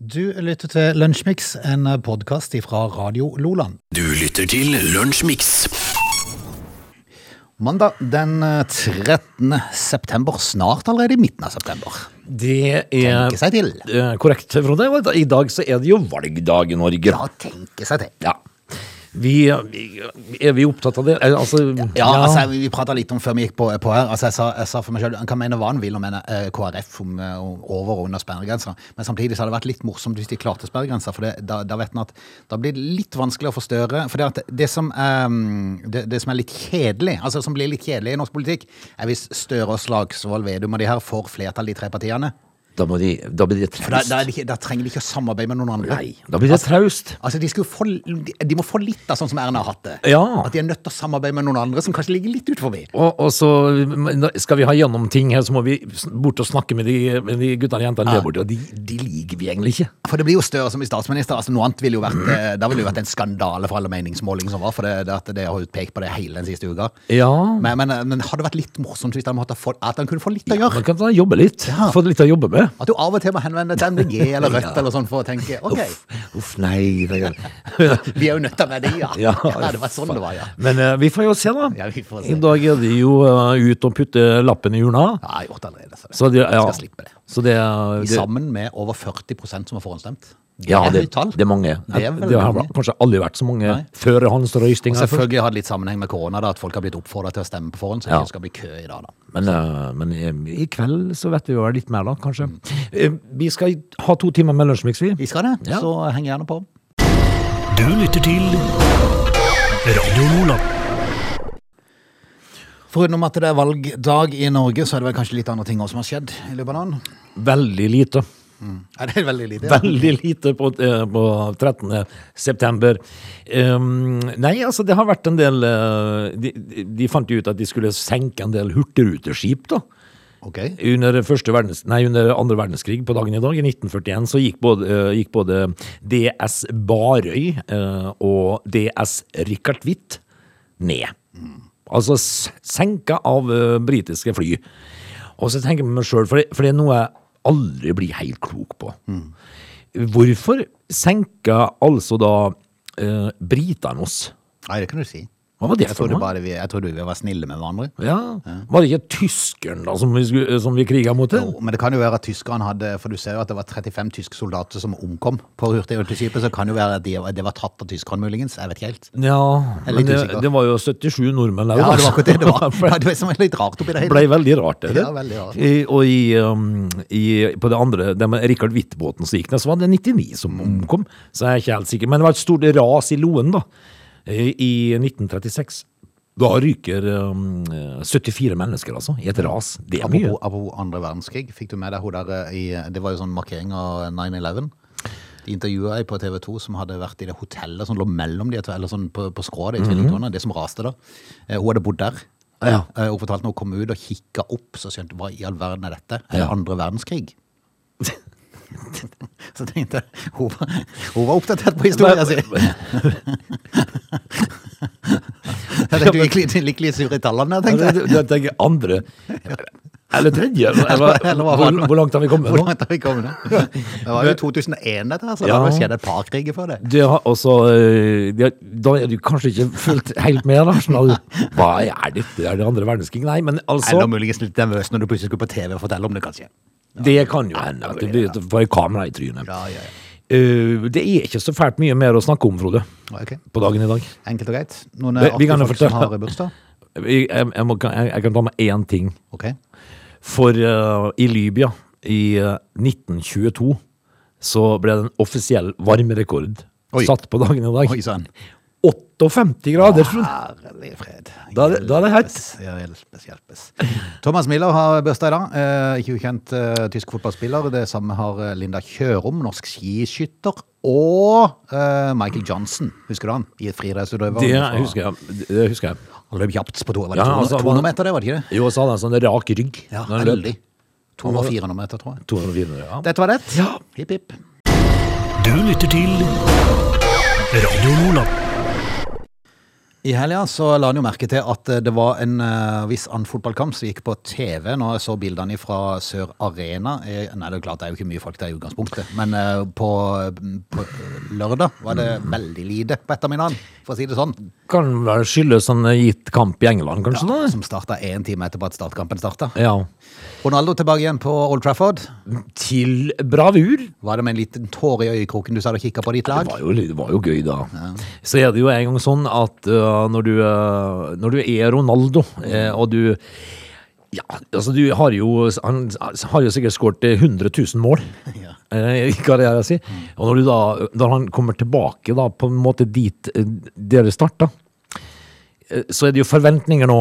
Du lytter til Lunsjmix, en podkast fra Radio Loland. Du lytter til Lunsjmix. Mandag den 13. september, snart allerede i midten av september. Det Tenke er seg til. eh, korrekt, Frode. Og I dag så er det jo valgdag i Norge. Ja, tenke seg til. Ja. Vi, vi- er vi opptatt av det? Eh, Altså, Ja, altså, vi prata litt om før vi gikk på, på her. Altså, jeg, sa, jeg sa for meg sjøl han kan mene hva han vil om mene, eh, KrF om, eh, om over- og under sperregrensa, men samtidig så hadde det vært litt morsomt hvis de klarte sperregrensa, for det, da, da vet en at da blir det litt vanskelig å få Støre. For det, at det, som, eh, det, det som er litt kjedelig, altså som blir litt kjedelig i norsk politikk, er hvis Støre og Slagsvold Vedum og de her får flertall, de tre partiene. Da, må de, da blir det For da, da, er traust. det ikke, da trenger de ikke å samarbeide med noen andre. Nei, da blir det traust. Altså, de, skulle få, de må få litt av sånn som Erna har hatt det. Ja. At de er nødt til å samarbeide med noen andre som kanskje ligger litt ut forbi. Og, og så men da skal vi ha gjennom ting her, så må vi s- bort og snakke med de, med de gutta og jentene der borte. Og de, de liker vi egentlig ikke. For det blir jo Støre som blir statsminister. Altså, noe annet ville jo vært, eh, da ville jo vært en skandale for alle meningsmålinger som var, for det, det, at det har jo pekt på det hele den siste uka. Ja. Men, men, eh, men hadde det vært litt morsomt hvis de måtte få, at han kunne få litt å Man gjøre? kan da jobbe litt. Få litt å jobbe med. At du av og til må henvende deg til MDG eller Rødt Ja. eller sånn for å tenke OK, Uff, uff, nei. det- vi er jo nødt til å være de, ja. Ja, det var sånn det var, ja. Men eh, vi får jo se, da. Ja, vi får se. I dag er de jo eh, ut og putte lappen i urna. Ja, jeg har gjort det allerede. Så. Så det, ja. Skal slippe det. Så det, I det, Sammen med over 40 som har forhåndsstemt. ja, er det, høyt tall. det er mange. Det er veldig det har mange. kanskje aldri vært så mange Nei. før Hans Røysting. Og her først. selvfølgelig har det litt sammenheng med korona, da, at folk har blitt oppfordra til å stemme på forhånd, så det Ja. ikke skal bli kø i dag, da. Men, eh, men i- i kveld så vet vi jo litt mer, da, kanskje. Eh, Vi skal ha to timer med lunsjmix, vi. Vi skal det, Ja. så heng gjerne på. Du lytter til Radio Lola. Foruten at det er valgdag i Norge, så er det vel kanskje litt andre ting også som har skjedd i Libanon? Veldig lite. Ja, det er veldig lite. Ja. Veldig lite på, eh, på 13. september. Um, nei, altså det har vært en del eh, de, de- de fant jo ut at de skulle senke en del hurtigruteskip da. Ok. Under, første verdens, nei, under andre verdenskrig på dagen i dag, i 1941, så gikk både, eh, gikk både DS Barøy eh, og DS Richard Witt ned. Altså s- senka av eh, britiske fly. Og så tenker jeg med meg sjøl, for, det- for det er noe jeg aldri blir helt klok på. Hvorfor senka altså da eh, britene oss? Nei, det kan du si. Hva var det Jeg for trodde noe? bare vi, jeg trodde vi var snille med hverandre. Ja. Var det ikke tyskeren da som vi, skulle- som vi kriga mot? Jo, Men det kan jo være at tyskerne hadde For du ser jo at det var 35 tyske soldater som omkom på Hurtigruteskipet, så det kan jo være at de, det var tatt av tyskerne, muligens. Jeg vet ikke helt. Ja, Jeg er men litt det, usikker. det var jo 77 nordmenn der. Ja, det var akkurat det det var. For Ja, Det var som litt rart oppi det det hele. ble veldig rart. Det. Ja, veldig rart. I, og i, um, i, på det andre, det med Rikard Hvitt-båten som gikk ned, så var det 99 som omkom. Så jeg er ikke helt sikker. Men det var et stort ras i Loen, da. I, i 1936. Da ryker um, 74 mennesker, altså. I et ras. Det er mye. Apropos, apropos andre verdenskrig, fikk du med deg hun der eh, i Det var jo sånn markering av 9-11. De intervjua ei på TV 2 som hadde vært i det hotellet som lå mellom de to, eller sånn på, på skrået i tvillingtårnet, det som raste da. Eh, Hun hadde bodd der. Mhm. Ah, Ja. Eh, Hun fortalte når hun kom ut og kikka opp, så skjønte hun hva i all verden er dette? Er det Ja. andre verdenskrig? Så tenkte jeg, hun var, hun var oppdatert på historien sin! Jeg tenkte hun gikk litt, gikk litt sur i tallene, jeg tenkte jeg. Jeg tenker andre Eller tredje? Eller, Eller hva var hvor, det? hvor langt har vi kommet Hvor nå? langt har vi kommet nå? Det var jo 2001 dette her, så det Ja. hadde jo skjedd et par kriger før det. Det har også, eh, det, da er du kanskje ikke fulgt helt med, da. Sånn, at, hva er dette? Er det andre verdenskrig? Nei, men altså Eller muligens litt nervøs når du plutselig skulle på TV og fortelle om det, kanskje. Det kan jo hende. At det blir at du får et kamera i trynet. Ja, ja, ja. Eh, det er ikke så fælt mye mer å snakke om, Frode, Ok, på dagen i dag. Enkelt og greit. Noen Vi- vi artige kan jo folk som fortelle- har bursdag? Jeg, jeg, jeg, må, jeg, jeg kan ta med én ting. Ok. For eh, i Libya i eh, 1922 så ble det en offisiell varmerekord Oi. satt på dagen i dag. Oi sann. 58 grader, Frode! Herlig fred. Da er det- da er det hett. Hjelpes, ja, Hjelpes, hjelpes. Thomas Miller har bursdag i dag. Eh, ikke ukjent eh, tysk fotballspiller. Det samme har eh, Linda Kjørom, norsk skiskytter. Og eh, Michael Johnson, husker du han? I friidrettsutøver. Det fra- husker jeg. Det husker jeg. Han løp kjapt på to, var det Ja, 200 altså, 200 meter, det var det ikke det? Jo, og så hadde han sånn rak rygg. Ja, når han løp. veldig. 200-400 meter, tror jeg. 200 videre, ja. Dette var det. Ja. Hipp, hipp. Du lytter til Radio Lola. I helga så la han jo merke til at eh, det var en eh, viss annen fotballkamp som gikk på TV. Når jeg så bildene fra Sør Arena eh, Nei, det er klart det er jo ikke mye folk der i utgangspunktet, men eh, på, på lørdag var det Mm. veldig lite på ettermiddagen, for å si det sånn. Kan vel skyldes en gitt kamp i England, kanskje? Ja, da? som starta én time etterpå at startkampen starta. Ja. Ronaldo tilbake igjen på Old Trafford. Til bravur. Var det med en liten tåre i øyekroken du sa du kikka på ditt Det lag? var, jo, det var jo gøy, da. Så er det jo en gang sånn at øh, når, du, øh, når du er Ronaldo, eh, og du ja, altså du har jo Han har jo sikkert skåret eh, 100 000 mål Ja. eh, i karrieren sin. Og når, du da, når han kommer tilbake da, på en måte dit eh, dere starta, eh, så er det jo forventninger nå.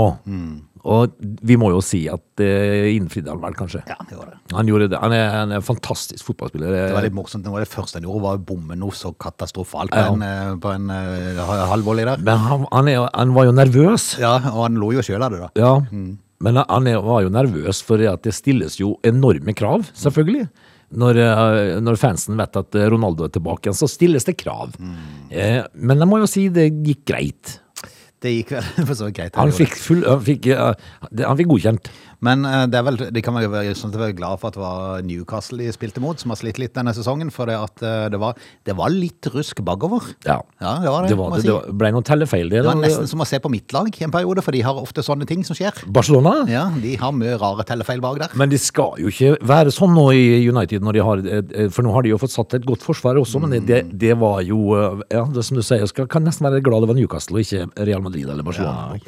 Og vi må jo si at eh, det innfridde han vel, kanskje. Ja, det var det. Han gjorde det. Han er, han er en fantastisk fotballspiller. Det var litt morsomt. Noe av det første han gjorde, var å bomme noe så katastrofalt på Eh. Ja. en, eh, på en eh, halvvolley der. Men han, han, er, han var jo nervøs. Ja, og han lo jo sjøl av det, da. Ja, men han er, var jo nervøs for at det stilles jo enorme krav, selvfølgelig. Når, eh, når fansen vet at eh, Ronaldo er tilbake igjen, så stilles det krav. Eh, men jeg må jo si det gikk greit. Mm. Det gikk vel for så vidt greit. Han gjorde det. fikk, full, han fikk, eh, det- han fikk godkjent. Men eh, det er vel, de kan vel være, sånn at de er glad for at det var Newcastle de spilte mot, som har slitt litt denne sesongen. For det, at, eh, det, var, det var litt rusk bakover. Ja, Ja, det var det, det, var, må det, jeg si. det var- ble noen tellefeil. Det, Det var da. nesten som å se på mitt lag i en periode, for de har ofte sånne ting som skjer. Barcelona? Ja, De har mye rare tellefeil bak der. Men det skal jo ikke være sånn nå i United, når de har, eh, eh, for nå har de jo fått satt et godt forsvar også, men det, Mm. det, det var jo eh, Ja, det som du sier, jeg skal, kan nesten være glad det var Newcastle og ikke Real Madrid eller Barcelona.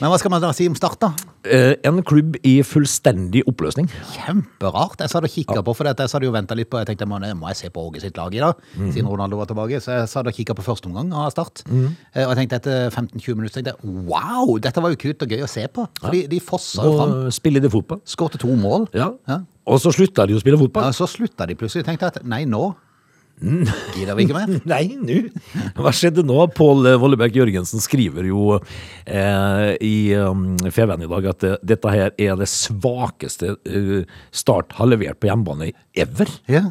Men hva skal man da si om Start, da? Eh, en klubb i fullstendig oppløsning. Kjemperart. Jeg satt og kikka på, for dette, jeg hadde jo venta litt på Jeg tenkte må, må jeg se på Åge sitt lag i dag, siden Ronaldo var tilbake. Så jeg satt og kikka på første omgang av Start. Eh, Og jeg tenkte etter 15-20 minutter tenkte jeg, wow, dette var jo kult og gøy å se på. For de, de fossa jo fram. Og spiller de fotball. Skårte to mål. Ja. Ja. Og så slutta de å spille Ja, fotball. så slutta de plutselig. Tenkte jeg at nei, nå gidder vi ikke mer. Nei, nå! Hva skjedde nå? Pål Vollebæk Jørgensen skriver jo eh, i um, Feven i dag at eh, dette her er det svakeste eh, Start har levert på hjemmebane ever. Ja.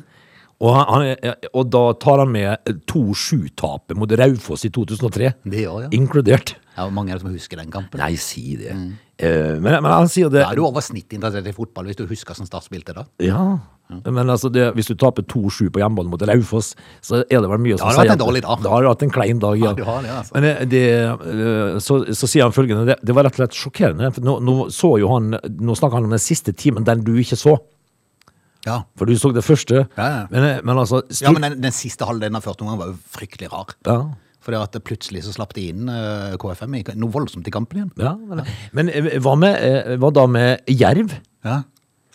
Og, han, han er- og da tar han med 2-7-tapet mot Raufoss i 2003, Det gjør, ja. inkludert. Ja, hvor mange er det som husker den kampen? Nei, si det. Mm. Eh, men, men han sier det Da er du over snittet interessert i fotball, hvis du husker som Start spilte da. Ja. Men altså det, hvis du taper 2-7 på hjemmebane mot Raufoss, så er det vel mye som har du hatt en sier at- dårlig dag. Da har du hatt en klein dag, Ja, ja. du har det, altså. Men eh, det, eh, så, så sier han følgende, det, det var rett og slett sjokkerende. For nå, nå så jo han, nå snakker han om den siste timen, den du ikke så. Ja. For du så det første. Ja, ja. Men, eh, men altså ja, men den, den siste halvdelen av første omgang var jo fryktelig rar. ja. Fordi at plutselig så slapp de inn eh, KFM i- noe voldsomt i kampen igjen. Ja, men, men eh, hva, med, eh, hva da med jerv? Ja.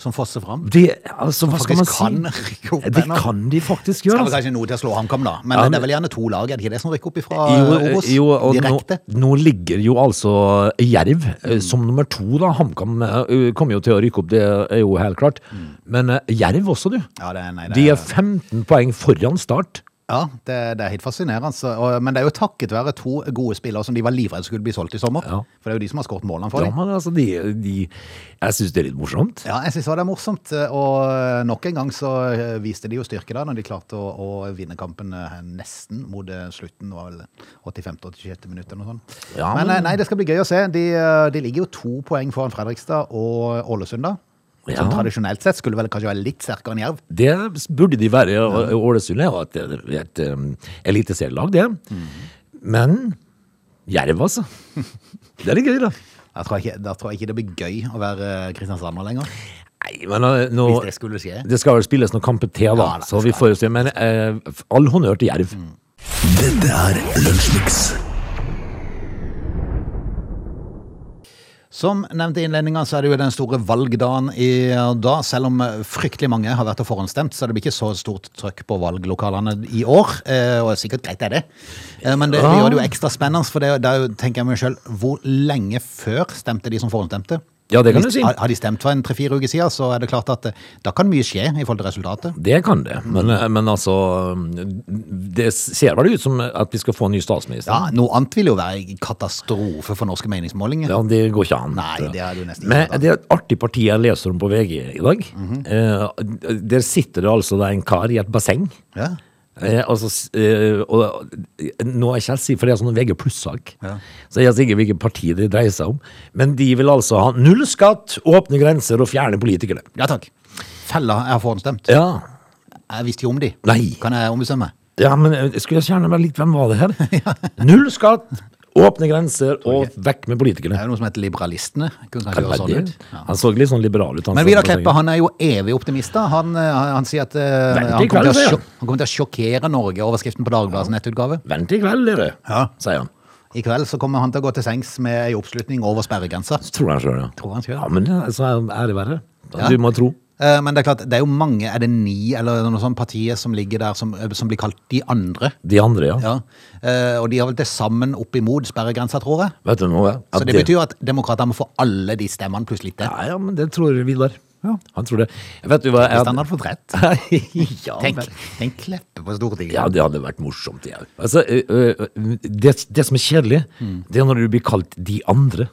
Som fosser fram. Det, altså, hva skal man Faktisk si? kan rykke opp Det ennå. kan de faktisk Skal gjøre. vel altså. kanskje noe til å slå HamKam, da. Men, Ja, men- det er vel gjerne to lag, er det ikke det som rykker opp ifra eh, Jo, Obos? jo og nå, Direkte. Mm. nå ligger jo altså Jerv eh, som nummer to, da. HamKam eh, kommer jo til å rykke opp, det er jo helt klart. Men eh, Jerv også, du. Ja, det, er- Mm. nei, det, De er er, 15 poeng foran start. ja det, det er helt fascinerende. Så, og, men det er jo takket være to gode spillere som de var livredde skulle bli solgt i sommer. Ja. For det er jo de som har skåret målene for Ja, dem. men altså, de, de Jeg syns det er litt morsomt. Ja, jeg syns det er morsomt. eh, Og nok en gang så eh, viste de jo styrke da, når de klarte å, å vinne kampen eh, nesten mot eh, slutten. Det var vel 85-86 minutt eller noe sånt. Ja, men men- eh, nei, det skal bli gøy å se. De, eh, de ligger jo to poeng foran Fredrikstad og Ålesund, da. Som Ja. tradisjonelt sett skulle vel kanskje være litt sterkere enn Jerv. Det burde de være. og- og Ålesund er jo et, et, eh, eliteserielag, det. Mm. Men Jerv, altså. Det er litt gøy, da. Da tror, jeg ikke, da tror jeg ikke det blir gøy å være eh, Kristiansander lenger. Nei, men eh, nå Hvis det skulle skje. Det skal vel spilles noen kamper til, da. Ja, da, så vi får jo se. Men eh, all honnør til Jerv. Mm. Dette er Lunsjmix. Som nevnt i innledninga, så er det jo den store valgdagen i dag. Selv om eh, fryktelig mange har vært og forhåndsstemt, så det blir ikke så stort trøkk på valglokalene i år. Eh, Og sikkert greit er det. Eh, Men det, det gjør det jo ekstra spennende, for det, da tenker jeg meg sjøl hvor lenge før stemte de som forhåndsstemte? Ja, det kan du Hvis- si. Har har de stemt for en tre-fire uker siden, så er det klart at eh, da kan mye skje i forhold til resultatet. Det kan det, Mm. men, eh, men altså mm, Det ser vel ut som at vi skal få en ny statsminister. Ja, Noe annet vil jo være en katastrofe for norske meningsmålinger. Ja, det går ikke an. Nei, tror jeg. det er det jo nesten ikke Mhm. Men an. det er et artig parti jeg leser om på VG i dag. Eh, der sitter det altså det er en kar i et basseng. Ja. Eh, altså, s- eh, og, eh, nå er ikke jeg sikker, for det er sånn VG pluss-sak, Ja. så jeg er sikker hvilket parti det dreier seg om. Men de vil altså ha null skatt, åpne grenser og fjerne politikere. Ja takk. Fella er forhåndsstemt. Ja, Jeg visste jo om de. Nei. Kan jeg ombestemme meg? ja men jeg skulle gjerne vært litt hvem var det her? Null skatt, åpne grenser og vekk med Det politikerne. er jo noe som heter Liberalistene. Kunne kanskje høre sånn Veldig. ut. Ja. Han så litt sånn liberal ut. han Men så Vidar på seg. Kleppe han er jo evig optimist. da. Han, eh, han, han sier at eh, Vent i han kommer, kveld, til å sier han. sjok- han kommer til å sjokkere Norge, overskriften på Dagbladets nettutgave. Vent i kveld, dere, Ja. sier han. I kveld så kommer han til å gå til sengs med en oppslutning over sperregrensa. Så tror jeg han sjøl, ja. Tror han sjøl. Ja, men ja, så er- ære være. Ja. Du må tro. Eh, Men det er klart, det er jo mange, er det ni eller noe sånt partier som ligger der som, eh, som blir kalt de andre? De andre, ja. Ja. Eh, Og de har vel til sammen oppimot sperregrensa, tror jeg. Vet du noe? ja? Så At det betyr jo at demokrater må få alle de stemmene pluss litt til. Ja, ja, men det tror Vidar. Ja. Han tror det. Vet du hva Hvis han hadde fått rett. ja, Tenk, men- tenk Kleppe på Stortinget. Ja, det hadde vært morsomt, det òg. Altså, ø, ø, ø, det, det som er kjedelig, Mm. det er når du blir kalt de andre.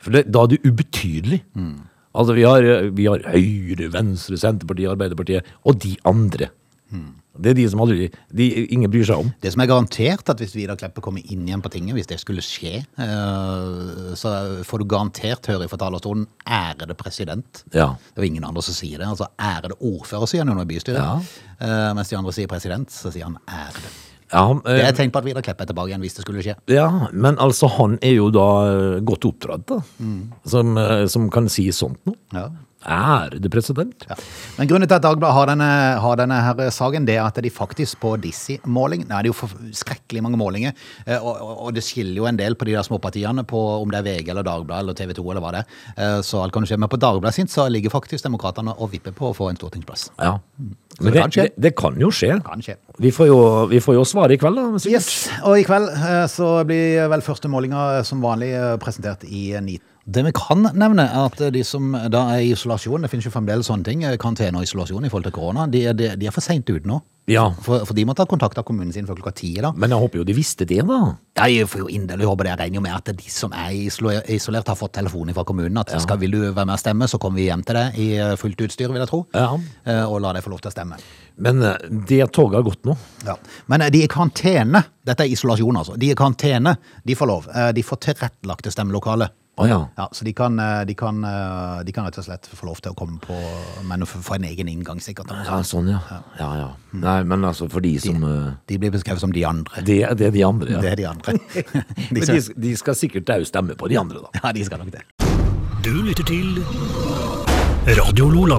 For det, da er du ubetydelig. Mm. Altså, vi har, ø, vi har Høyre, Venstre, Senterpartiet, Arbeiderpartiet og de andre. Mm. Det er de som aldri de, Ingen bryr seg om. Det som er garantert at hvis Vidar Kleppe kommer inn igjen på tinget, hvis det skulle skje, eh, så får du garantert høre fra talerstolen 'ærede president'. Ja. Det er jo ingen andre som sier det. Altså 'ærede ordfører', sier han jo nå i bystyret. Ja. Eh, mens de andre sier president, så sier han 'ærede'. Ja, ø, Det er et tegn på at Vidar Kleppe er tilbake igjen hvis det skulle skje. ja, men altså, han er jo da ø, godt oppdratt, da. Mm. Som, ø, som kan si sånt noe. Ja. Ærede president. Ja. Men grunnen til at Dagbladet har denne, har denne her saken, det er at de faktisk på Dizzie-måling Nå er det jo for- skrekkelig mange målinger, eh, og, og, og det skiller jo en del på de der småpartiene, på om det er VG eller Dagbladet eller TV 2 eller hva det er. Eh, Så alt kan jo skje. Men på Dagbladet sitt så ligger faktisk Demokratene og vipper på å få en stortingsplass. Ja. det Men det, kan skje. det, det kan jo skje. Kan skje. Vi får jo, vi får jo svare i kveld, da. sikkert. Yes, og i kveld eh, så blir vel første målinga eh, som vanlig eh, presentert i eh, ni. Det vi kan nevne er at eh, de som da er i isolasjon, det finnes jo fremdeles sånne ting, eh, karantene og isolasjon i forhold til korona, de, de, de er for seint ute nå. Ja. For, for de må ta kontakt av kommunen sin før klokka ti, da. Men jeg håper jo de visste det, da. Ja, Jeg får jo inderlig håpe det. Jeg regner jo med at de som er islo- isolert, har fått telefon fra kommunen at skal vil du være med og stemme, så kommer vi hjem til deg i eh, fullt utstyr, vil jeg tro, Ja. eh, og la deg få lov til å stemme. Men eh, det toget har gått nå. Ja. Men eh, de i karantene, dette er isolasjon altså, de i karantene, de får lov. Eh, De får tilrettelagte stemmelokale. Å ja. Ja, så de kan, eh, de, kan, eh, de kan rett og slett få lov til å komme på, men få få en egen inngang sikkert. Ja, sånn, ja. Ja, ja. Nei, men altså, for de som eh, De blir beskrevet som de andre. Det, det er de andre, Det ja. er de andre. De Men de, som- de skal sikkert òg stemme på de andre, da. Ja, de skal nok det. Du lytter til Radio Lola.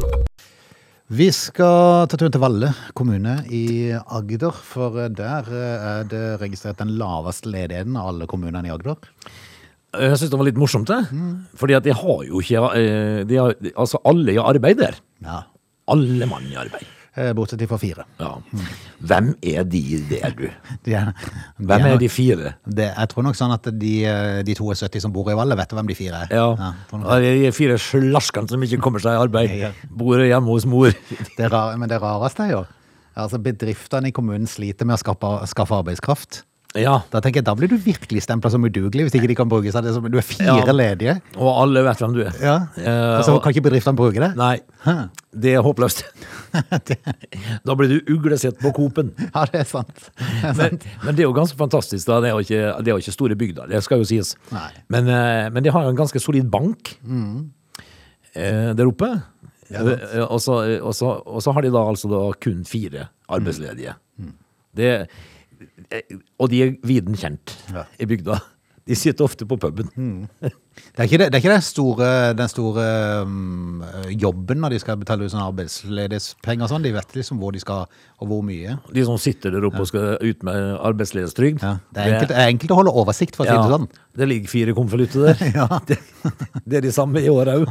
Vi skal ta turen til Valle kommune i Agder, for der eh, er det registrert den laveste ledigheten av alle kommunene i Agder. Jeg syns det var litt morsomt, det. Mm. Fordi at de har jo ikke eh, de har, Altså, alle er i arbeid der. Ja. Alle mann i arbeid. Eh, Bortsett fra fire. Ja. Mm. Hvem er de der, du? De er, Hvem nok- er de fire? Det, jeg tror nok sånn at de, eh, de 72 som bor i Valle, vet hvem de fire er. Ja. tror nok Ja, de fire slaskene som ikke kommer seg Ja. i arbeid. Bor hjemme hos mor. det. Det rar, men det rareste er jo altså Bedriftene i kommunen sliter med å skaffe, skaffe arbeidskraft. Ja. Da tenker jeg, da blir du virkelig stempla som udugelig hvis ikke de kan bruke seg. Det er som- Du er fire Ja. ledige. Og alle vet hvem du er. Ja. Eh, altså, og- kan ikke bedriftene bruke det? Nei, Hæ. det er håpløst. da blir du uglesett på Coop-en. Ja, det er sant. Det er Men, sant. men det er jo ganske fantastisk. da, Det er jo ikke, det er jo ikke store bygder, det skal jo sies. Nei. Mm. Men, eh, men de har jo en ganske solid bank eh, der oppe. Eh, og, så, og, så, og så har de da altså da kun fire arbeidsledige. Mm. Det, eh, og de er viden kjent Ja. Mm. i bygda. De sitter ofte på puben. Det er ikke, det, det er ikke den store, den store um, jobben når de skal betale ut sånne arbeidsledighetspenger og sånn. De vet liksom hvor de skal, og hvor mye. De som sitter der oppe og skal ut med arbeidsledighetstrygd. Ja. Det, er enkelt, det er enkelt å holde oversikt, for å si det sånn. Det ligger fire konvolutter der. det, det er de samme i år òg.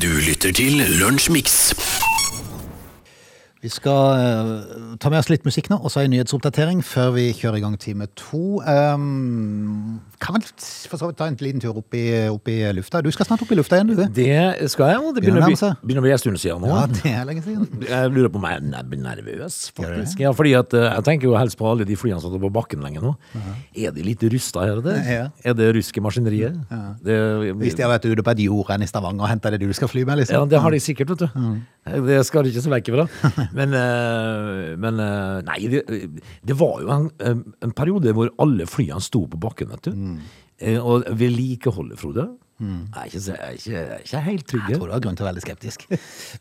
Du lytter til Lunsjmix. Vi skal eh, ta med oss litt musikk nå, og så en nyhetsoppdatering før vi kjører i gang time to. Um, kan vel for så vidt ta en liten tur opp i, opp i lufta? Du skal snart opp i lufta igjen, du. Det skal jeg, og det Begynner begynner, å nærme å bli- seg. begynner å bli en stund siden nå. Ja, det er lenge siden. Jeg lurer på om jeg er ner- nervøs, Gjør du det? faktisk. Ja, fordi at eh, Jeg tenker jo helst på alle de flyene som står på bakken lenge nå. Er de litt rusta her og der? Ja. Er det ruske maskineriet? Det, Hvis de har vært ute på et jord enn i Stavanger og henta det du skal fly med, ja, liksom. det har de sikkert, vet du. Det skal du ikke se vekk ifra. Men, eh, men eh, Nei, det, det var jo en, eh, en periode hvor alle flyene sto på bakken, vet du. Mm. Eh, Og vedlikeholdet, Frode, er ikke, så- er ikke, er ikke helt Jeg trygge. tror det var grunn til å være veldig skeptisk.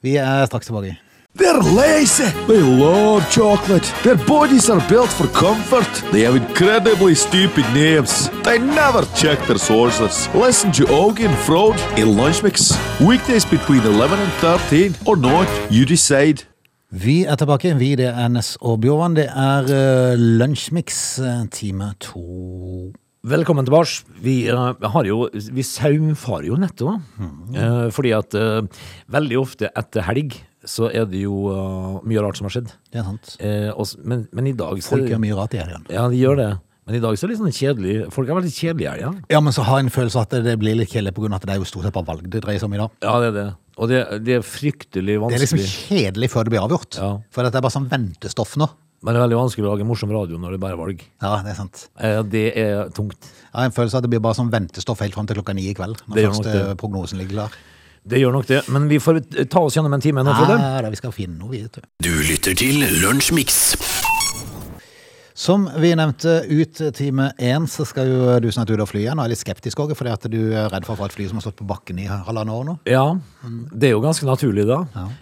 Vi er straks tilbake. They're lazy. They love chocolate. Their bodies are built for comfort. They have incredibly stupid names. They never check their sources. Listen to Augie and Frode in Lunch Mix. Weekdays between 11 and 13 or not, you decide. Vi er tilbake. Vi, det er Ness og Bjørvann. Det er uh, Lunsjmix eh, time to. Velkommen tilbake. Vi, eh, har jo, vi saumfarer jo nettopp. da. Mhm. Eh, fordi at eh, veldig ofte etter helg så er det jo eh, mye rart som har skjedd. Det er sant. Eh, og s- men, men i dag så Folk gjør mye rart i helgen. Ja, de gjør det. Men i dag så er det litt sånn kjedelig. Folk er veldig kjedelige i helga. Ja, men så har jeg en følelse av at det blir litt kjedelig pga. at det er jo stort sett bare valg det dreier seg om i dag. Ja, det er det. Og det, det er fryktelig Det er vanskelig. liksom kjedelig før det blir avgjort. Ja. For dette er bare sånn ventestoff nå. Men det er veldig vanskelig å lage morsom radio når det bare er valg. Ja, det er sant. Eh, det er tungt. Jeg har en følelse av at det blir bare sånn ventestoff helt fram til klokka ni i kveld. Når Det gjør nok første det. prognosen ligger klar. Det gjør nok det. Men vi får ta oss gjennom en time nå, Frode. Ja, da, vi skal finne noe, vi. vet du. Du lytter til Lunsjmix. Som vi nevnte, ut time én så skal jo du snart ut og fly igjen. Og jeg er litt skeptisk òg, fordi at du er redd for å få et fly som har stått på bakken i halvannet år nå. Ja, det er jo ganske naturlig da.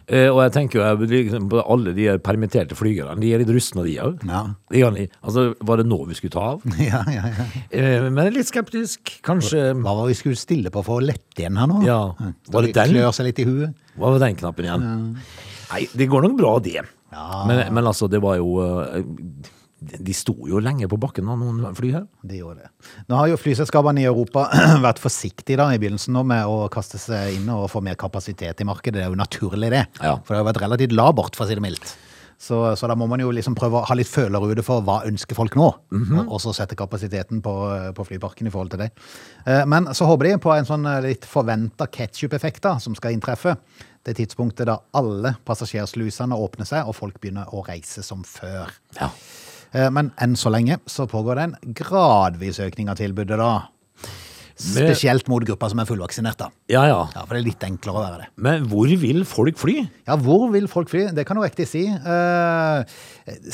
Eh, og jeg tenker jo jeg blir liksom på alle de her permitterte flygerne. De er litt rustne, de òg. Ja. Altså, var det nå vi skulle ta av? Ja, ja, ja. Eh, men jeg er litt skeptisk. Kanskje Hva var vi skulle stille på for å lette igjen her nå? Ja. Var Var det den? Klør seg litt i huet. Hva var den knappen igjen? Nei, det går nok bra, det. Ja. Men, men altså, det var jo eh, de- De sto jo lenge på bakken av noen fly her. De gjorde det. Nå har jo flyselskapene i Europa vært forsiktige da, i begynnelsen nå med å kaste seg inn og få mer kapasitet i markedet. Det er jo naturlig, det. Ja. For det har jo vært relativt labert, for å si det mildt. Så, så da må man jo liksom prøve å ha litt følerute for hva ønsker folk nå, og- og så sette kapasiteten på, på flyparken i forhold til det. Eh, Men så håper de på en sånn eh, litt forventa ketsjup-effekt da, som skal inntreffe. Det tidspunktet da alle passasjerslusene åpner seg, og folk begynner å reise som før. Ja. Eh, Men enn så lenge så pågår det en gradvis økning av tilbudet da. Men- Spesielt mot grupper som er fullvaksinert da. ja, ja. Ja, for det er litt enklere å være det. Men hvor vil folk fly? Ja, hvor vil folk fly? Det kan du riktig si. Eh,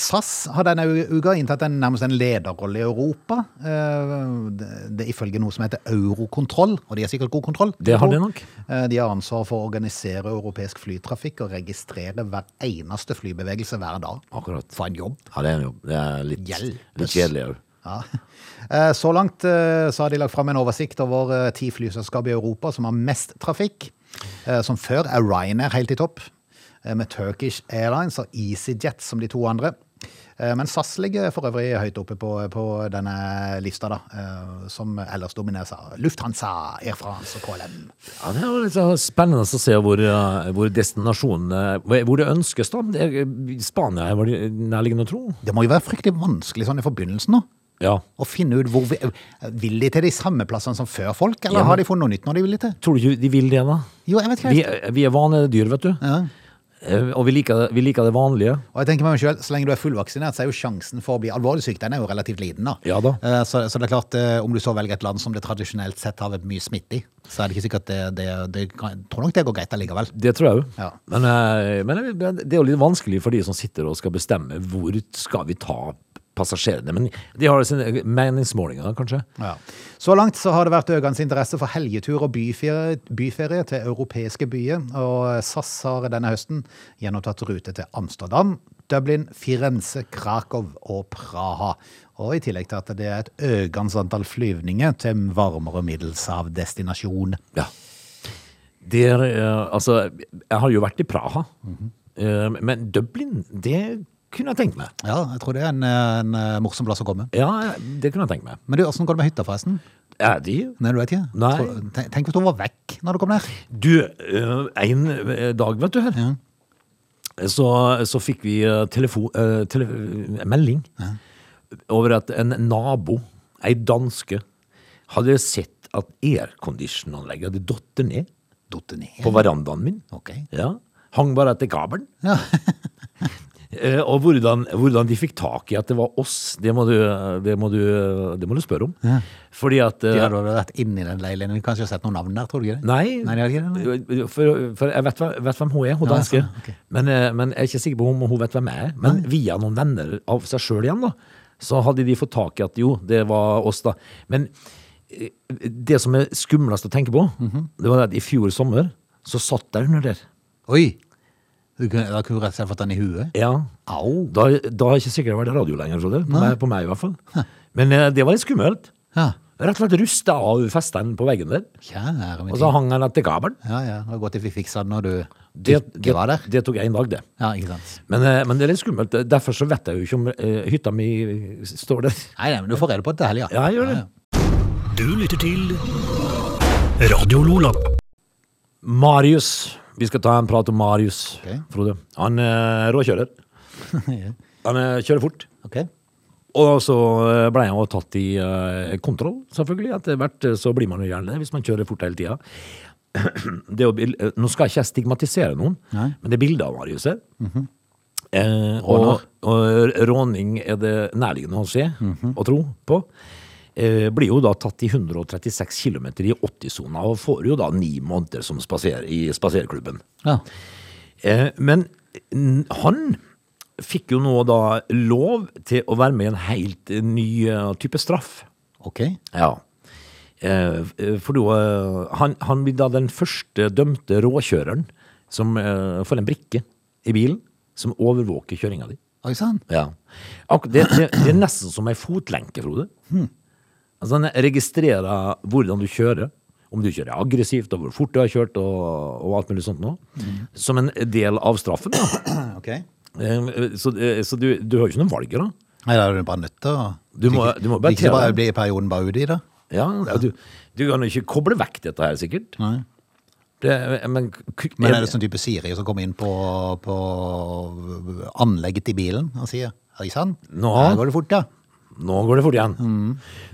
SAS har denne u- uka inntatt en, nærmest en lederrolle i Europa. Eh, det, det er ifølge noe som heter Eurokontroll, og de har sikkert god kontroll. Det har de nok. Eh, de har ansvar for å organisere europeisk flytrafikk og registrere hver eneste flybevegelse hver dag. Akkurat. For en jobb. Ja, det er jo det er litt, litt Hjelpes. kjedelig òg. Ja. Eh, Så langt eh, så har de lagt fram en oversikt over eh, ti flyselskap i Europa som har mest trafikk. Eh, Som før er Ryanair helt i topp, eh, med Turkish Airlines og EasyJet som de to andre. Eh, Men SAS ligger for øvrig høyt oppe på, på denne lista, da, eh, som ellers domineres av Lufthansa, Air France og KLM. Ja, det er jo litt så spennende å se hvor, eh, hvor destinasjonene Hvor det ønskes, da. Det er- Spania er vel nærliggende å tro. Det må jo være fryktelig vanskelig sånn i forbindelsen nå. Ja. Å finne ut hvor vi, eh, Vil de til de samme plassene som før folk, eller Ja, men- har de funnet noe nytt når de vil til? Tror du ikke de vil det, da? Jo, jeg vet ikke helt. Vi, er- vi er vanedyr, vet du. Ja. Eh, Og vi liker, vi liker det vanlige. Og jeg tenker med meg selv, Så lenge du er fullvaksinert, så er jo sjansen for å bli alvorlig syk den er jo relativt liten. da. Ja da. Eh, Så, så det er klart, eh, om du så velger et land som det tradisjonelt sett har vært mye smitte i, så er det ikke sikkert det, det, det kan, jeg tror nok det går greit allikevel. Det tror jeg jo. Ja. Men, eh, men det er jo litt vanskelig for de som sitter og skal bestemme hvor skal vi ta passasjerene. Men de har sine meningsmålinger, kanskje. Ja. Så langt så har det vært økende interesse for helgetur og byferie, byferie til europeiske byer. Og SAS har denne høsten gjenopptatt rute til Amsterdam, Dublin, Firenze, Krakow og Praha. Og i tillegg til at det er et økende antall flyvninger til en varmere middelshavdestinasjon. Ja. Det er, eh, altså, jeg har jo vært i Praha, Eh, men Dublin, det kunne jeg tenkt meg. Ja, jeg tror det er en, en eh, morsom plass å komme. Ja, det kunne jeg tenkt meg. Men du, åssen går det med hytta, forresten? Er de? Nei, du vet ikke? Nei. Tror- ten- Tenk hvis hun var vekk når du kom ned. Du, eh, en eh, dag, vet du her, så, så fikk vi eh, telefo- eh, tele, eh, melding over at en nabo, ei danske, hadde sett at airconditionanlegget hadde datt ned Dotte ned. på verandaen min. Ok. Ja. Hang bare etter kabelen. Ja. Eh, Og hvordan, hvordan de fikk tak i at det var oss, det må du, eh, det må du, det må du spørre om. Fordi at De eh, hadde vel vært inni den leiligheten. Vi kan ikke ha sett noen navn der, tror du ikke det? Nei, Nei, de hadde ikke det, nei. for, for jeg vet, hva- vet hvem hun er, hun Ja, danske. sånn, ok. men, eh, men jeg er ikke sikker på om hun vet hvem jeg er. Men via noen venner av seg sjøl igjen, da, så hadde de fått tak i at jo, det var oss, da. Men eh, det som er skumlest å tenke på, Mhm. det var at i fjor sommer så satt jeg under der. Oi! Du kunne, da kunne du rett og slett fått den i huet. Ja. Au! Da, da er jeg ikke sikkert det vært radio lenger, Frode. På, meg- på meg, i hvert fall. Men eh, det var litt skummelt. Ja. Rett og slett rusta av festeren på veggen der, Kjære min og tid. så hang han etter kabelen. Ja, ja. Det var godt at vi fiksa den når du Det, det, ikke var der. det tok én dag, det. Ja, ikke sant. Men, eh, men det er litt skummelt. Derfor så vet jeg jo ikke om eh, hytta mi står der. Nei, nei, men du får rede på det til helga. Ja, jeg gjør det. Du lytter til Radio Lola. Marius. Vi skal ta en prat om Marius, Ok. Frode. Han eh, råkjører. Ja. Han eh, kjører fort. Ok. Og så eh, ble han jo tatt i eh, kontroll, selvfølgelig. Etter hvert eh, så blir man jo gjerne det hvis man kjører fort hele tida. Det å bil- eh, Nå skal ikke jeg stigmatisere noen, Nei. men det er bildet av Marius her. eh, og, og råning er det nærliggende å se og tro på. Eh, blir jo da tatt i 136 km i 80-sona og får jo da ni måneder som spaser, i spaserklubben. Ja. Eh, Men n- han fikk jo nå da lov til å være med i en helt eh, ny eh, type straff. Ok. Ja. Eh, f- eh, For da eh, han, han blir da den første dømte råkjøreren som eh, får en brikke i bilen som overvåker kjøringa di. Oi sann. Ja. Akkur- Det, det, det er nesten som ei fotlenke, Frode. Altså, han registrerer hvordan du kjører. Om du kjører aggressivt, og hvor fort du har kjørt, og, og alt mulig sånt nå. Som en del av straffen, da. Ok. Nei, Eh, Så, eh, så du, du har jo ikke noe valg, da. da er du bare nødt til å Du må- du må bare Ikke tjene bare den. bli perioden bare ute i det. Ja, du, du kan jo ikke koble vekk dette her, sikkert. Nei. Det, eh, men, Men er det sånn type Siri som kommer inn på, på anlegget i bilen og sier Oi sann, Nå. her går det fort, ja. Nå går det fort igjen.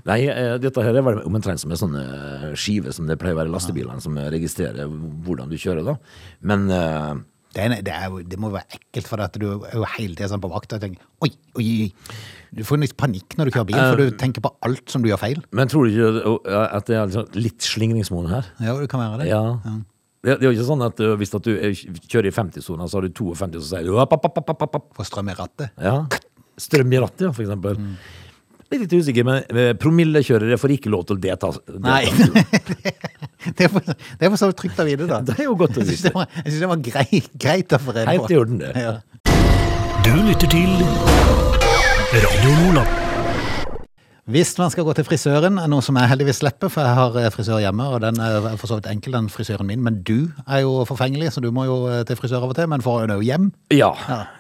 Nei, eh, dette her er vel omtrent som en sånn eh, skive som det pleier å være lastebilene som eh, registrerer hvordan du kjører, da. Men eh, Det, er, det, er, jo- det må være ekkelt, for at du er jo hele tiden sånn på vakt og tenker Oi, oi, oi. Du får litt panikk når du kjører bil, for Eh, du tenker på alt som du gjør feil. Men tror du ikke eh, at det er liksom litt slingringsmonn her? Ja, det kan være det. Ja. Det, det er jo ikke sånn at eh, hvis at du eh, kjører i 50-sona, så har du 52, så sier du opp, opp, opp, opp, opp, opp, opp. Får strøm i rattet. Ja. Mm. Strøm i rattet, ja, for eksempel. Litt usikker, men eh, promillekjørere får ikke lov til å delta. Nei. det er for- det er for så vidt trygt å vite, da. Det er jo godt å Jeg synes vite. det var, jeg synes det var grei, greit å få rede på. Helt i orden, det. Ja. Du lytter til Radio Lola. Hvis man skal gå til frisøren, er noe som jeg heldigvis slipper, for jeg har eh, frisør hjemme, og den er for så vidt enkel, den frisøren min, men du er jo forfengelig, så du må jo eh, til frisør av og til, men får jo hjem. Ja.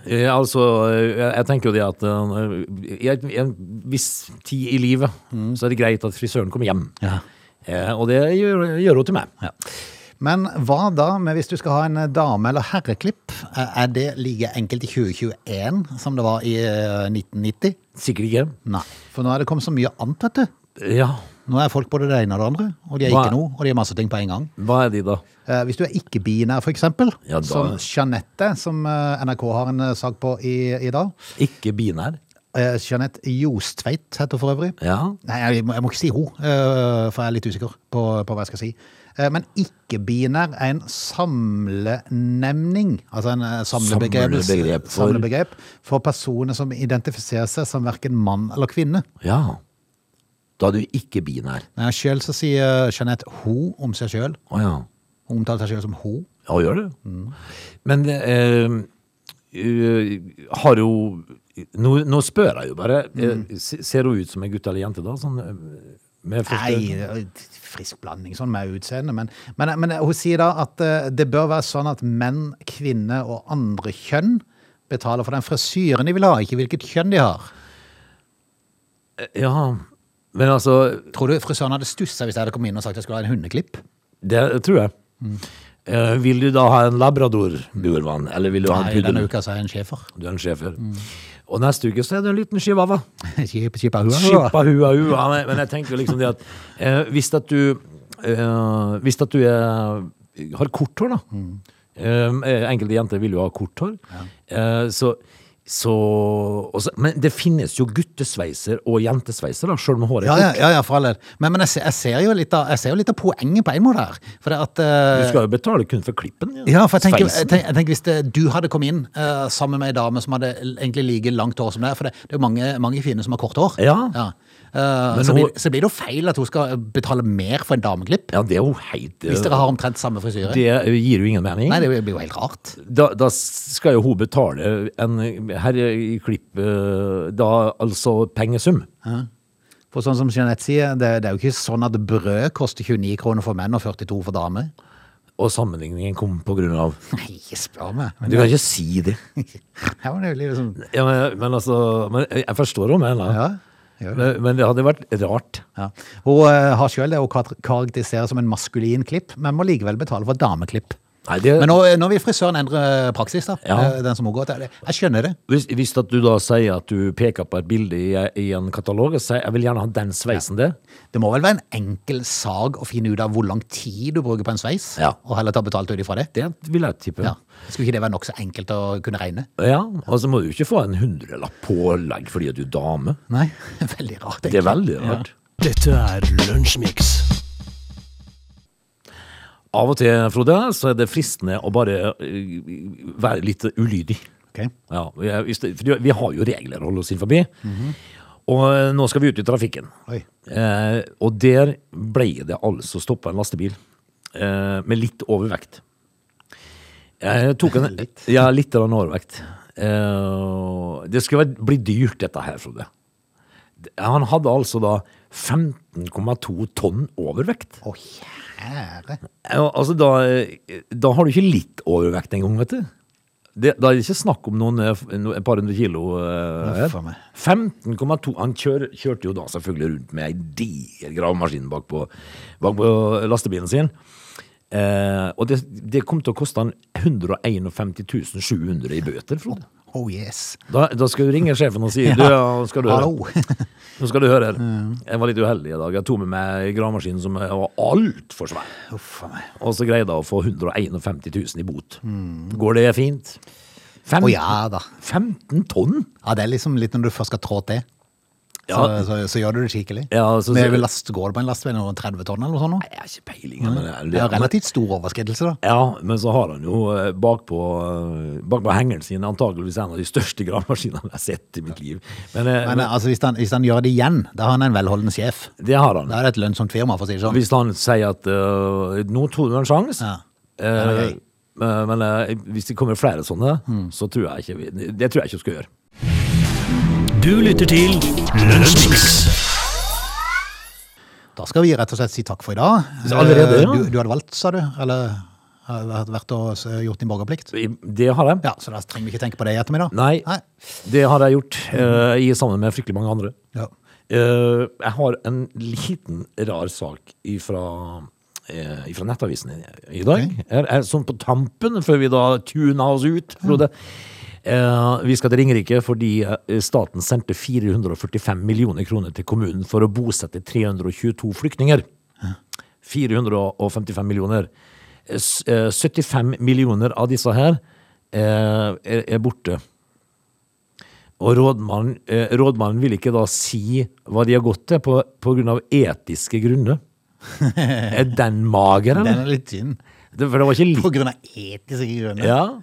Eh, Altså, eh, jeg jeg tenker jo det at eh, i et- i en viss tid i livet så er det greit at frisøren kommer hjem. Ja. Eh, og det gjør, gjør hun til meg. Men hva da med hvis du skal ha en eh, dame- eller herreklipp? Eh, Er det like enkelt i 2021 som det var i eh, 1990? Sikkert ikke. Nei, for nå er det kommet så mye annet, vet du. Ja. Nå er folk både det ene og det andre, og de er Hva- ikke noe, og de er masse ting på en gang. Hva er de, da? Eh, Hvis du er ikke-binær, for eksempel, Ja, da- som Jeanette, som eh, NRK har en eh, sak på i, i dag. Ikke binær. Eh, Jeanette Jostveit heter hun for øvrig. Ja. Nei, jeg må, jeg må ikke si hun, eh, for jeg er litt usikker på, på hva jeg skal si. Eh, Men ikke-binær er en samlenemning, altså en eh, samlebegrep, Samlebegrep for- samlebegrep for personer som identifiserer seg som verken mann eller kvinne. Ja. Da er du ikke binær. Men Selv så sier Jeanette ho om seg sjøl. Å ja. Hun omtaler seg sjøl som ho. Ja, gjør det. Men eh, eh, har hun nå, nå spør jeg jo bare. eh, se- ser hun ut som en gutt eller jente, da? Sånn, eh, med første Nei, det er jo frisk blanding sånn med utseende, men, men, men hun sier da at eh, det bør være sånn at menn, kvinner og andre kjønn betaler for den frisyren de vil ha, ikke hvilket kjønn de har. Ja. Men altså, Tror du frisøren hadde stussa hvis jeg hadde kommet inn og sagt jeg skulle ha en hundeklipp? det tror jeg. Mm. Eh, vil du da ha en labrador, Burvan? Eller vil du ha en Nei, puddel? denne Mm. uka så er jeg en schæfer. Du er en schæfer. Og neste uke så er det en liten chihuahua. Skip- skipper hua, hua. Skippa hua hua. Men- Men jeg tenker jo liksom det at eh, Hvis at du eh, Hvis at du er, Mm. eh, har kort hår, da. Eh, enkelte jenter vil jo ha kort hår. Eh, så Så, og så, men det finnes jo guttesveiser og jentesveiser, da, sjøl med håret Ja, ja, kort. ja, ja for all del. Men, men jeg, ser, jeg, ser jo litt av, jeg ser jo litt av poenget på en måte her. For det at eh, Du skal jo betale kun for klippen. Ja, for jeg tenker, jeg Sveisen. tenker, jeg tenker Hvis det, du hadde kommet inn eh, sammen med ei dame som hadde l- egentlig like langt hår som deg For det, det er jo mange, mange fine som har kort hår. Ja. Eh, Men så, hun- blir, så blir det jo feil at hun skal betale mer for en dameklipp. Ja, det er jo helt eh, Hvis dere har omtrent samme frisyre. Det gir jo ingen mening. Nei, det blir jo helt rart. da, da skal jo hun betale en herreklipp eh, Da altså pengesum. For sånn som Jeanette sier, det, det er jo ikke sånn at brød koster 29 kroner for menn og 42 for damer. Og sammenligningen kom på grunn av Nei, ikke spør meg. Men, Du kan ikke si det. ja, men det er jo litt sånn Ja, men, men altså men Jeg forstår henne, da. Ja. gjør det. Men, men det hadde vært rart. Ja. Hun eh, har sjøl det hun kar- karakteriserer som en maskulin klipp, men må likevel betale for dameklipp. Nei, det, Men nå, eh, nå vil frisøren endre praksis, da. Eh, Ja. Eh, Den som hun går til. Jeg skjønner det. hvis, hvis at du da sier at du peker på et bilde i, i en katalog og sier jeg vil gjerne ha den sveisen der Det må vel være en enkel sag å finne ut av hvor lang tid du bruker på en sveis, Ja. og heller ta betalt ut ifra det. Det vil jeg tippe. Ja. Skulle ikke det være nokså enkelt å kunne regne? Ja, og så må du ikke få en hundrelapp pålegg fordi at du er dame. Nei, veldig rart. Det er egentlig. veldig rart. Dette er Lunsjmix. Av og til, Frode, så er det fristende å bare eh, være litt ulydig. Ok. Ja, jeg- hvis det- for vi har jo regler å holde oss inn forbi. Og eh, nå skal vi ut i trafikken. Oi. Eh, og der ble det altså stoppa en lastebil eh, med litt overvekt. Jeg tok en Litt. Ja, litt eller noe overvekt. Eh, det skulle vært- bli dyrt, dette her, Frode. Han hadde altså da 15,2 tonn overvekt. Å, kjære. Ja, altså da, da har du ikke litt overvekt engang, vet du. Det, da er det ikke snakk om noen, eh, f- no- et par hundre kilo. eh, her. Uff a meg. 15,2 Han kjør, kjørte jo da selvfølgelig rundt med ei diger gravemaskin bak på, bak på lastebilen sin. Eh, og det, det kom til å koste han 151 700 i bøter, Frode. Oh yes. Da, da skal du ringe sjefen og si Ja. du, ja, skal du høre. Hallo. Nå skal du høre her. Jeg var litt uheldig i dag. Jeg tok med meg ei gravemaskin som var altfor svær. Uff a meg. Og så greide jeg å få 151 000 i bot. Går det fint? 15, Å ja da. 15 tonn? Ja, det er liksom litt når du først skal trå til. Så, Ja. så, så gjør du det skikkelig. Ja, så- Men last, går det på en lastebil noen 30 tonn eller noe sånt? nå? Jeg har ikke peiling. Men, Det er jo men, relativt stor overskridelse, da. ja, men så har han jo eh, bakpå, eh, bakpå hengeren sin antageligvis en av de største gravemaskinene jeg har sett i mitt liv. Men, eh, Men altså, hvis han, hvis han gjør det igjen, da har han en velholden sjef. men det har han. Da er det et lønnsomt firma, for å si det sånn. Hvis han sier at eh, nå tok du en sjanse Ja. Ja, det er Hmm. gøy. eh, Men eh, hvis det kommer flere sånne, så tror jeg ikke vi- Det tror jeg ikke vi skal gjøre. Du lytter til Lunsjmix. Da skal vi rett og slett si takk for i dag. Så allerede, Eh, ja. du, du hadde valgt, sa du? Eller har vært- vært og s- gjort din borgerplikt? Det har jeg. Ja, så da trenger vi ikke tenke på det i ettermiddag. Nei, Nei. det har jeg gjort eh, i sammen med fryktelig mange andre. Ja. Eh, jeg har en liten rar sak fra ifra nettavisen i, i dag. Ok. Er, er sånn på tampen, før vi da tuna oss ut. Frode. Eh, vi skal til Ringerike fordi eh, staten sendte 445 millioner kroner til kommunen for å bosette 322 flyktninger. 455 millioner. Eh, s- eh, 75 millioner av disse her eh, er, er borte. Og rådmannen, eh, rådmannen vil ikke da si hva de har gått til på, på grunn av etiske grunner. Er den mager, Den eller? er litt tynn. Det- For det var ikke litt På grunn av etiske grunner. ja.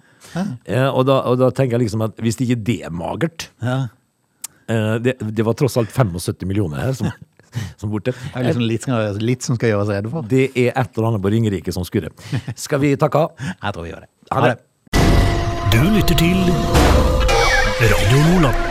Eh, og, da, og da tenker jeg liksom at hvis ikke det er magert Ja. eh, det, det var tross alt 75 millioner her som, som borte. Eh, Det er liksom litt, som- litt som skal gjøres rede for. Det er et eller annet på Ringerike som skurrer. Skal vi takke av? Jeg tror vi gjør det. Ha det. Du lytter til Radio Lola.